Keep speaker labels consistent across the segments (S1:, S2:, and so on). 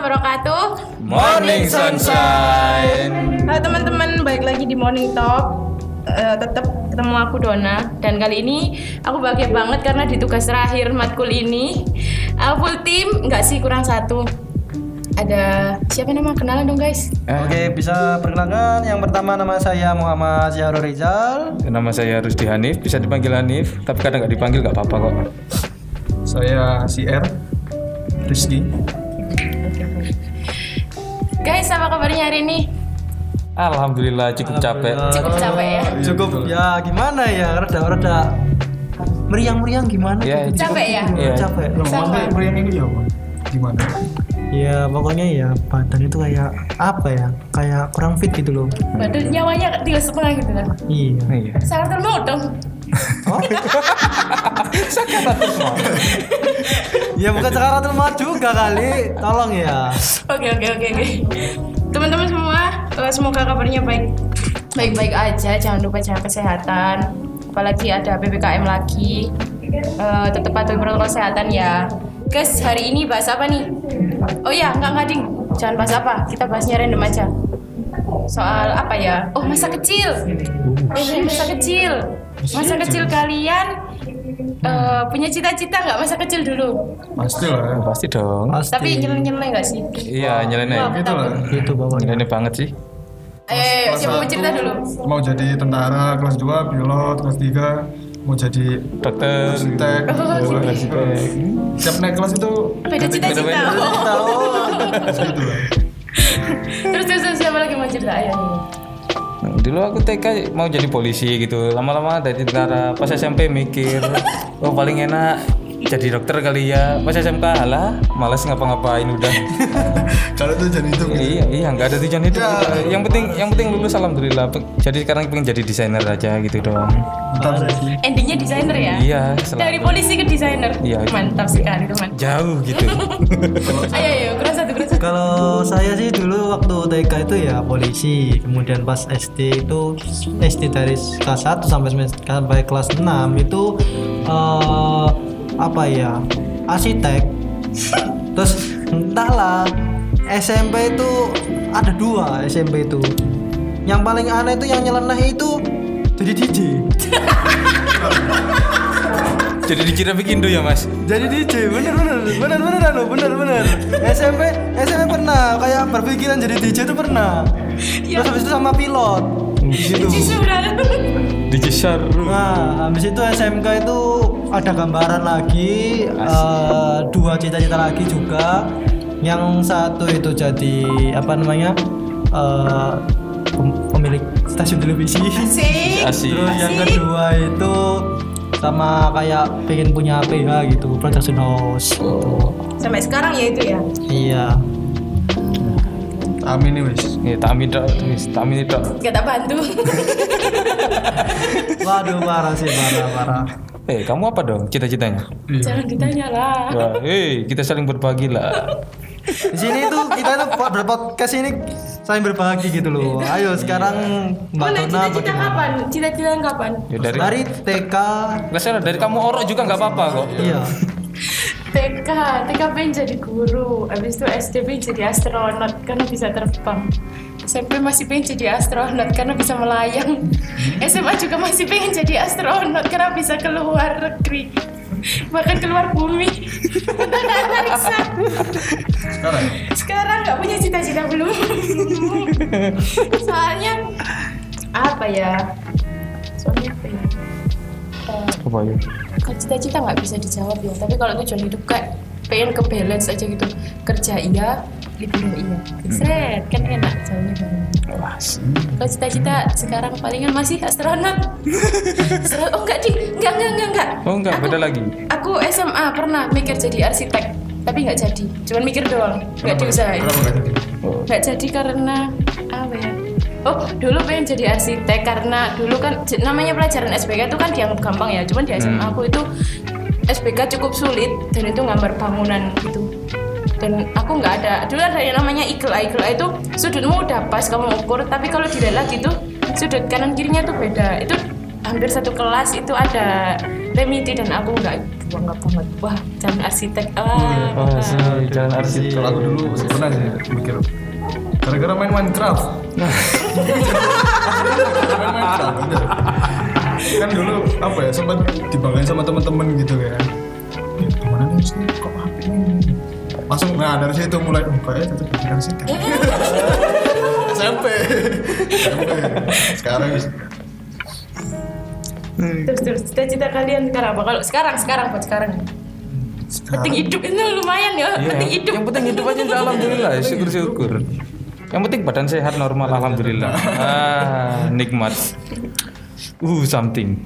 S1: wabarakatuh.
S2: Morning Sunshine.
S1: Halo teman-teman, balik lagi di Morning Talk. Eh, tetap ketemu aku Dona dan kali ini aku bahagia banget karena di tugas terakhir matkul ini aku full tim nggak sih kurang satu ada siapa nama kenalan dong guys
S2: Eh,
S3: Oke, bisa perkenalkan. Yang pertama nama saya Muhammad Syahrul Rizal.
S2: Nama saya Rusdi Hanif, bisa dipanggil Hanif, tapi kadang nggak dipanggil nggak apa-apa kok.
S4: Saya si R Rizky.
S1: guys apa kabarnya hari ini
S2: Alhamdulillah cukup capek.
S1: cukup capek ya
S3: Cukup ya gimana ya reda-reda meriang-meriang gimana?
S2: Ya,
S3: Cukup-
S1: capek
S3: cukup
S1: ya?
S3: gitu,
S2: Iya.
S3: Capek.
S1: Sama.
S4: Sama meriang ini ya, Pak. Gimana?
S3: Ya pokoknya ya badan itu kayak apa ya? Kayak kurang fit gitu loh.
S1: badan nyawanya tiga setengah gitu kan
S3: Iya.
S2: Iya.
S1: sangat termau dong
S3: Oh. ya bukan sekarang tuh mau juga kali. Tolong ya.
S1: Oke oke oke oke. Teman-teman semua, eh, semoga kabarnya baik baik-baik aja. Jangan lupa jaga kesehatan. Apalagi ada ppkm lagi. Eh, tetap patuhi protokol kesehatan ya. Guys, hari ini bahas apa nih? Oh ya, nggak ngading. Jangan bahas apa. Kita bahasnya random aja. Soal apa ya? Oh masa kecil. Eh, masa kecil. Masa kecil kalian eh, punya cita-cita nggak masa kecil dulu?
S4: Pasti lah.
S2: Pasti dong.
S3: Pasti.
S1: Tapi nyeleneh-nyeleneh nggak sih?
S2: Iya,
S1: Wah,
S2: nyeleneh.
S1: aku
S4: Gitu
S1: takut.
S4: lah.
S3: Gitu pokoknya.
S2: Nyeleneh banget sih.
S1: Eh, siapa mau cerita dulu?
S4: Mau jadi tentara kelas 2, pilot kelas 3, mau jadi
S2: Dokter.
S4: arsitek.
S1: Oh,
S4: gitu lah. Siap naik kelas itu
S1: Beda cita-cita.
S2: Beda-beda.
S4: gitu lah.
S1: terus terus terus, siapa lagi mau cerita ayo.
S2: Dulu aku TK mau jadi polisi gitu. Lama-lama dari tentara. Pas SMP mikir, oh paling enak jadi dokter kali ya. Pas SMK halah, males ngapa-ngapain udah.
S4: Kalau itu jadi itu. gitu.
S2: iya, iya nggak ada tujuan hidup. udah. Yang penting yang penting lulus alhamdulillah. Pe- Jadi sekarang pengen jadi desainer aja gitu dong.
S4: Mantap sih.
S1: Endingnya desainer ya?
S2: Iya,
S1: Dari
S2: selalu
S1: polisi ke desainer.
S2: Iya.
S1: Mantap sekali teman.
S2: jauh gitu.
S1: Ayo ayo kurang satu kurang satu.
S3: Kalau saya sih dulu waktu TK itu ya polisi, kemudian pas SD itu SD dari kelas 1 sampai semester- sampai kelas 6 itu eh apa ya? arsitek. Terus entahlah SMP itu ada dua SMP itu. Yang paling aneh itu yang nyeleneh itu jadi DJ.
S2: jadi dikira bikin do ya, Mas?
S3: Jadi DJ, bener bener bener bener anu, bener bener. SMP SMP pernah kayak berpikiran jadi DJ itu pernah.
S1: Iya.
S3: Terus habis itu sama pilot. Gitu.
S1: Cici sebenarnya.
S2: DJ Syaru.
S3: Nah, habis itu SMK itu ada gambaran lagi, eh, dua cita-cita lagi juga. Yang satu itu jadi apa namanya? eh, pem- pemilik stasiun televisi.
S1: Asik.
S2: Asik.
S3: Terus yang
S1: Asik.
S3: kedua itu sama kayak pengen punya PH gitu, production house.
S1: Sampai sekarang ya itu ya.
S3: Iya.
S4: Amin nih wis.
S2: Ya, tak amin dok, Miss. tak amin dok.
S1: Gak tak bantu.
S3: Waduh parah sih parah parah.
S2: Eh, kamu apa dong cita-citanya?
S4: Iya.
S1: Jangan ditanya lah.
S2: Wah, eh, kita saling berbagi lah.
S3: Di sini tuh kita tuh po- berpodcast ini saling berbagi gitu loh. Ayo sekarang Mbak
S1: Mana
S3: Dona
S1: cita-cita
S3: bagaimana?
S1: kapan? Cita-cita kapan?
S2: Ya,
S3: dari,
S2: dari
S3: TK
S2: Nggak salah, dari kamu orok juga nggak apa-apa kok.
S3: iya
S1: TK, TK pengen jadi guru, habis itu SD pengen jadi astronot karena bisa terbang. SMP masih pengen jadi astronot karena bisa melayang. SMA juga masih pengen jadi astronot karena bisa keluar negeri. Bahkan keluar bumi. Tentang antariksa.
S4: Sekarang ya?
S1: Sekarang nggak punya cita-cita belum. Soalnya apa ya? Soalnya apa ya? Eh,
S2: Apa ya?
S1: kalau cita-cita nggak bisa dijawab ya tapi kalau tujuan hidup kayak pengen ke balance aja gitu kerja iya liburan iya
S2: Hmm.
S1: set kan enak jauhnya banget
S2: Wah, sih.
S1: kalau cita-cita sekarang palingan masih astronot Astronot- oh enggak ding enggak enggak enggak enggak
S2: Oh, enggak,
S1: Aku-
S2: beda lagi.
S1: aku SMA pernah mikir jadi arsitek tapi nggak jadi cuman mikir doang nggak diusahain
S4: Kenapa nggak jadi?
S2: Oh.
S1: nggak jadi karena apa ya oh dulu pengen jadi arsitek karena dulu kan j- namanya pelajaran SBK itu kan dianggap gampang ya cuman di SMA aku itu SBK cukup sulit dan itu gambar bangunan gitu dan aku nggak ada dulu ada yang namanya eagle eye. eagle eye itu sudutmu udah pas kamu ukur tapi kalau dilihat lagi tuh sudut kanan kirinya tuh beda itu hampir satu kelas itu ada Remiti dan aku nggak gua nggak banget wah jangan arsitek ah
S2: Wah, sih, jalan arsitek.
S4: Kalau aku dulu pernah sih mikir gara-gara main Minecraft. main Minecraft. udah. kan dulu apa ya sempat dibanggain sama teman-teman gitu ya. Ya, Gimana nih sih kok HP ini? Langsung nah dari situ mulai oh, kayaknya tetap bikin arsitek. SMP. SMP. Sekarang
S1: terus terus cita-cita kalian sekarang apa kalau sekarang sekarang buat sekarang
S4: sekarang
S1: penting hidup itu lumayan ya
S2: Iya,
S1: penting
S2: yang-
S1: hidup
S2: Yang penting hidup aja udah alhamdulillah, Ya, syukur-syukur. Yang penting badan sehat normal alhamdulillah. Ah, nikmat. Uh, something.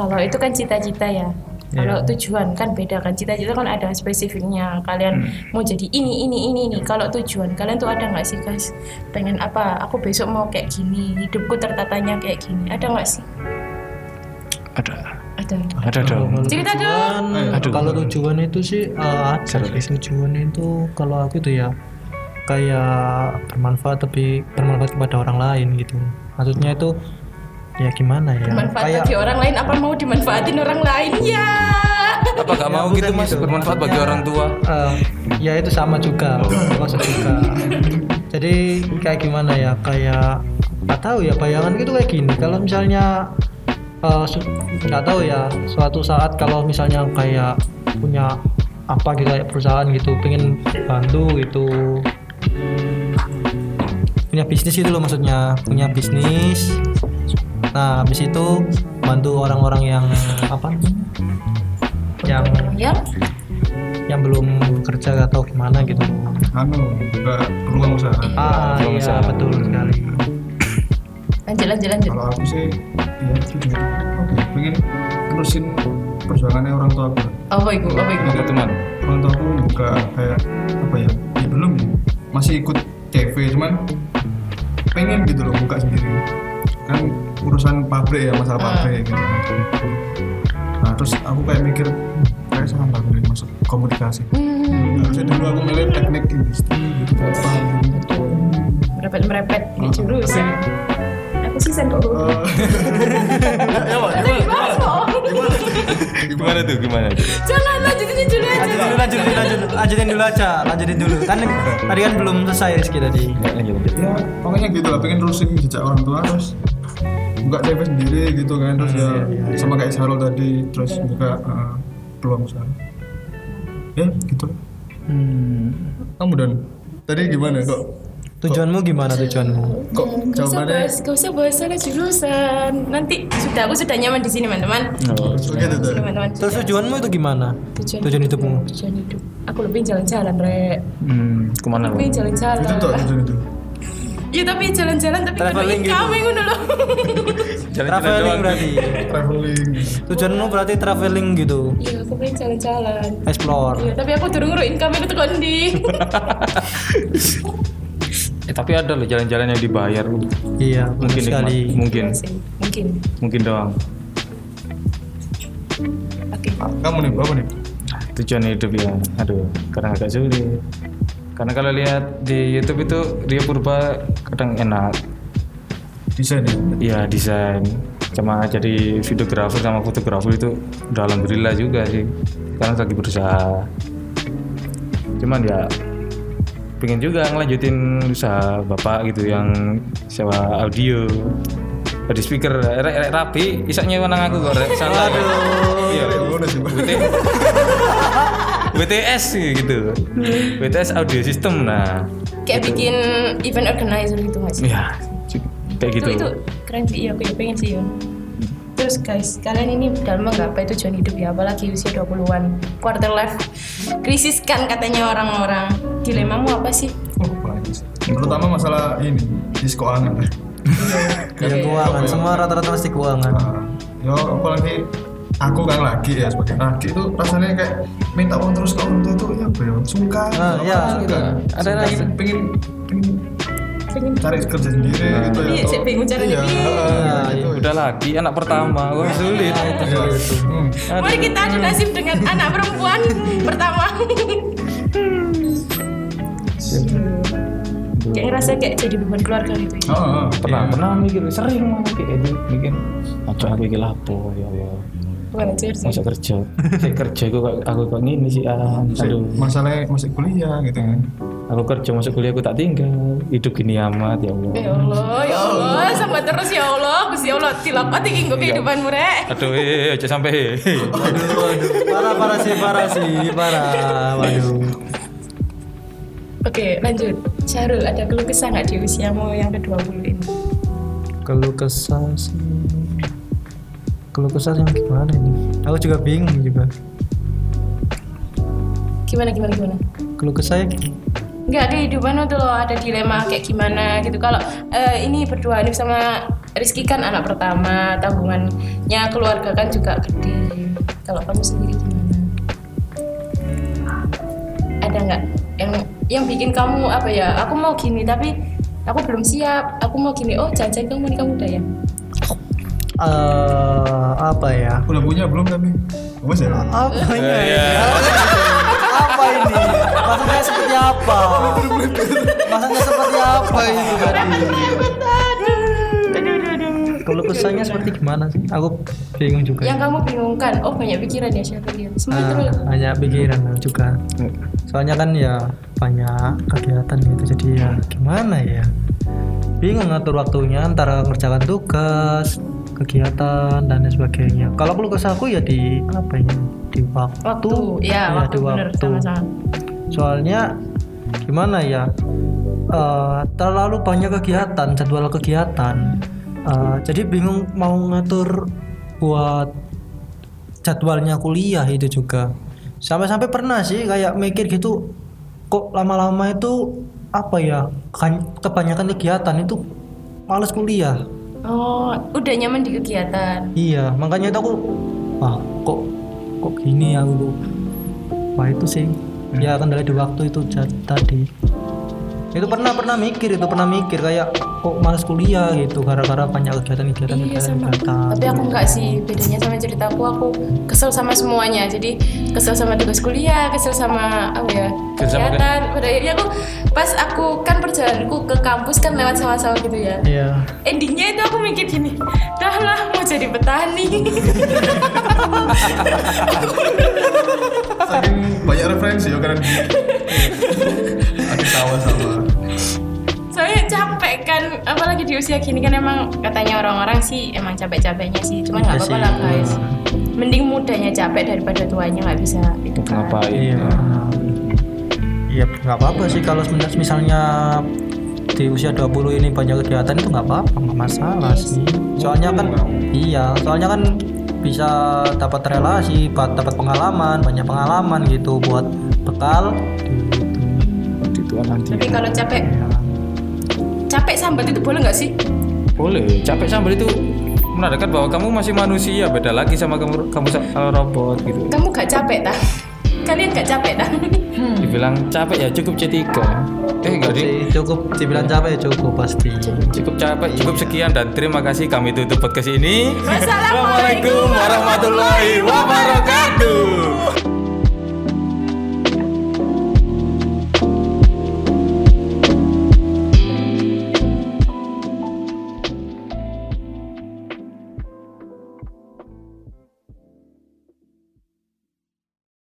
S1: kalau itu kan cita-cita ya
S2: Iya.
S1: kalau tujuan kan beda kan cita-cita kan ada spesifiknya kalian
S2: Hmm.
S1: mau jadi ini ini ini ini kalau tujuan kalian tuh ada nggak sih guys pengen apa aku besok mau kayak gini hidupku tertatanya kayak gini ada nggak sih
S2: Ada.
S1: ada
S2: Ada dong.
S1: cerita dong
S4: Ayo.
S3: Aduh. Kalau tujuan itu sih eh, ada
S2: Seru.
S3: sih. tujuan itu kalau aku itu ya kayak bermanfaat tapi bermanfaat kepada orang lain gitu. Maksudnya itu ya gimana ya?
S1: bermanfaat
S3: kayak
S1: bagi orang lain apa mau dimanfaatin orang lain ya
S2: Apa gak mau gitu Mas bermanfaat bagi orang tua?
S3: eh, ya itu sama juga, masuk juga. Jadi kayak gimana ya? Kayak nggak tahu ya bayangan gitu kayak gini. Kalau misalnya eh, su- nggak tahu ya suatu saat kalau misalnya kayak punya apa gitu kayak perusahaan gitu, pengen bantu gitu punya bisnis gitu loh maksudnya punya bisnis nah habis itu bantu orang-orang yang apa yang
S2: Iya.
S1: ya
S3: yang belum kerja atau gimana gitu
S4: anu buka ruang usaha.
S3: ah
S2: Belum
S3: iya
S2: bisa.
S3: betul sekali
S1: lanjut lanjut lanjut
S4: kalau aku sih ya gitu ya. Oke, pengen terusin perjuangannya orang tua aku
S1: apa itu apa itu
S2: Apa teman?
S4: orang tua aku buka kayak apa ya, ya belum ya masih ikut CV cuman pengen gitu loh buka sendiri kan urusan pabrik ya masalah pabrik gitu kan. nah terus aku kayak mikir kayak salah nggak milih masuk komunikasi
S1: hmm,
S4: harusnya dulu aku milih teknik industri gitu apa gitu
S1: merepet merepet di jurusan aku sih sendok
S4: Eh, ya Wak,
S1: Tapi gimana Bob?
S2: Gimana tuh? Gimana tuh?
S1: jangan lanjutin dulu aja
S3: lanjutin lanjutin lanjutin dulu aja lanjutin dulu kan tadi kan belum selesai Rizky tadi
S2: Nggak, lanjut, lanjut.
S4: ya pokoknya gitu lah pengen terusin jejak orang tua terus buka CV sendiri gitu kan terus
S2: Iya,
S4: ya sama kayak Sarul tadi terus buka eh, peluang usaha ya gitu
S2: Hmm.
S4: kamu dan tadi gimana kok
S3: tujuanmu gimana tujuanmu
S4: kok
S1: Gak usah
S4: jawabannya
S1: bahas, gak usah bahas soal jurusan. Nanti sudah aku sudah nyaman di sini, teman-teman.
S2: Oh,
S4: gitu tuh
S1: Teman-teman.
S3: terus tujuanmu itu gimana tujuan hidupmu
S1: Tujuan hidup. Aku lebih jalan-jalan, Rek.
S2: Hmm, kemana lu?
S1: Lebih jalan-jalan.
S4: itu tuh itu itu
S1: Iya, tapi jalan-jalan tapi kalau
S3: Traveling gitu.
S1: income ngono loh.
S2: Jalan-jalan
S3: traveling
S2: doang.
S3: berarti
S4: traveling
S3: tujuanmu berarti traveling gitu
S1: Iya, aku pengen jalan-jalan.
S3: explore
S1: Iya, tapi aku durung ngurus income itu kondi.
S2: Eh, tapi ada loh jalan-jalan yang dibayar. Uh,
S3: iya betul
S2: Mungkin nikmat.
S3: sekali
S2: Mungkin.
S1: Iya sih, Mungkin.
S2: Mungkin doang.
S1: Oke.
S4: kamu nih apa nih
S2: tujuan hidup ya aduh kadang agak sulit karena kalau lihat di YouTube itu Rio Purba kadang enak
S4: desain ya
S2: ya desain cuma jadi videografer sama fotografer itu udah alhamdulillah juga sih sekarang lagi berusaha cuman ya pengen juga ngelanjutin usaha bapak gitu yang sewa audio ada speaker rek rek rapi isaknya nang aku kok rek santai iya
S4: ya udah sih Pak.
S2: BT BTS gitu BTS audio system nah
S1: Kayak bikin event organizer gitu, Mas.
S2: ya kayak gitu
S1: itu itu keren sih iya aku juga pengen sih ya terus guys kalian ini dalam menggapai tujuan hidup ya apalagi usia 20-an quarter life krisis kan katanya orang-orang dilemamu apa sih
S4: oh bagus terutama masalah ini diskoangan
S3: ya keuangan semua rata-rata pasti keuangan
S4: Eh, yo apalagi aku kan lagi ya sebagai laki itu rasanya kayak minta uang terus ke orang tua itu ya apa ya sungkan
S3: Ah, iya,
S4: Apa gitu.
S3: sungkan.
S4: ada
S2: Sungkan.
S4: lagi pengen pengen cari kerja sendiri gitu ya
S1: Iya, saya bingung caranya,
S4: Iya,
S1: Bi.
S4: iya, gitu.
S2: udah lagi anak pertama wah sulit
S4: Iya, gitu. Hmm.
S1: mari kita adu nasib dengan anak perempuan pertama kayak ngerasa kayak jadi beban keluarga gitu ya
S4: Ah, ah,
S2: pernah
S4: iya.
S2: pernah mikir sering mau mikir kayak gitu mikir aduh aku iki lapo ya ya
S1: bukan aja harus
S2: masuk kerja saya kerja aku kok aku kok ngini sih ah.
S4: Masih-
S2: aduh
S4: masalahnya masih kuliah gitu kan
S2: aku kerja masuk kuliah aku tak tinggal hidup gini amat ya allah
S1: Ya Allah, ya Allah, sama terus ya Allah, Gusti Allah, tilapati kinggo kehidupanmu rek.
S2: aduh eh aja sampai eh.
S3: Waduh, waduh. Parah, parah sih, parah sih, parah. Waduh.
S1: Oke, lanjut. Syahrul, ada keluh kesah nggak di usiamu yang ke-20 ini?
S3: Keluh kesah sih. Keluh kesah yang gimana ini? Aku juga bingung juga.
S1: Gimana, gimana, gimana?
S3: Keluh kesah
S1: Nggak, kehidupan tuh loh ada dilema kayak gimana gitu. Kalau eh, ini berdua ini sama Rizky kan anak pertama, tanggungannya keluarga kan juga gede. Kalau kamu sendiri gimana? Ada nggak yang yang bikin kamu apa ya? Aku mau gini tapi aku belum siap. Aku mau gini. Oh, jangan-jangan kamu nikah muda ya?
S3: eh apa ya?
S4: udah punya belum tapi bos ya
S2: Eh,
S3: Apa
S2: Iya,
S3: ini? Apa ini? Maksudnya seperti apa? Maksudnya seperti apa ini tadi?
S1: Aduh, aduh, aduh.
S3: Keluh kesahnya seperti gimana sih? Aku bingung juga.
S1: Yang kamu bingungkan. Oh, banyak pikiran ya Syahrul. ya? Semangat
S3: Ah,
S1: terus.
S3: banyak pikiran juga soalnya kan ya banyak kegiatan gitu jadi ya gimana ya bingung ngatur waktunya antara ngerjakan tugas kegiatan dan lain sebagainya kalau perlu kesahku ya di apa ya di waktu,
S1: Waktu, ya,
S3: Iya,
S1: waktu, bener sama-sama.
S3: soalnya gimana ya eh, terlalu banyak kegiatan jadwal kegiatan Eh, jadi bingung mau ngatur buat jadwalnya kuliah itu juga sampai-sampai pernah sih kayak mikir gitu kok lama-lama itu apa ya kan- kebanyakan kegiatan itu males kuliah
S1: Oh, udah nyaman di kegiatan.
S3: Iya, makanya itu aku ah kok kok gini ya aku. Wah itu sih. Ya kendala di waktu itu ja- tadi. Itu pernah pernah mikir itu pernah mikir kayak kok males kuliah gitu gara-gara banyak kegiatan-kegiatan
S1: Iya
S3: kegiatan,
S1: sama.
S3: kegiatan.
S1: Tapi aku enggak sih bedanya sama ceritaku aku kesel sama semuanya. Jadi kesel sama tugas kuliah, kesel sama apa ya
S2: Kesel sama
S1: kegiatan. Pada akhirnya aku pas aku kan perjalananku ke kampus kan lewat sawah-sawah gitu ya.
S3: Iya.
S1: Endingnya itu aku mikir gini, dah lah mau jadi petani.
S4: saking banyak referensi ya karena aku tawa sama
S1: Soalnya capek kan, apalagi di usia gini kan emang katanya orang-orang sih emang capek-capeknya sih. Cuman nggak
S3: Iya
S1: apa-apa
S3: sih.
S1: lah guys. Mending mudanya capek daripada tuanya nggak bisa. gitu kan.
S2: ngapain
S3: Iya. Iya nggak apa-apa sih kalau sebenarnya misalnya di usia 20 ini banyak kegiatan itu nggak apa-apa nggak masalah
S1: Yes.
S3: Iya sih. Soalnya kan iya, soalnya kan bisa dapat relasi, ba- dapat pengalaman, banyak pengalaman gitu buat bekal.
S2: Waktu itu kan nanti
S1: Tapi kalau capek, capek sambat itu boleh nggak sih?
S2: boleh capek sambil itu menandakan bahwa kamu masih manusia beda lagi sama kamu kamu sa- uh, robot gitu
S1: kamu gak capek tak? kalian gak capek tak?
S2: dibilang capek ya cukup C3 eh enggak
S3: Sih,
S2: ding
S3: cukup dibilang capek cukup pasti.
S2: cukup capek cukup sekian dan terima kasih kami tutup podcast ini
S1: Wassalamualaikum
S2: warahmatullahi wabarakatuh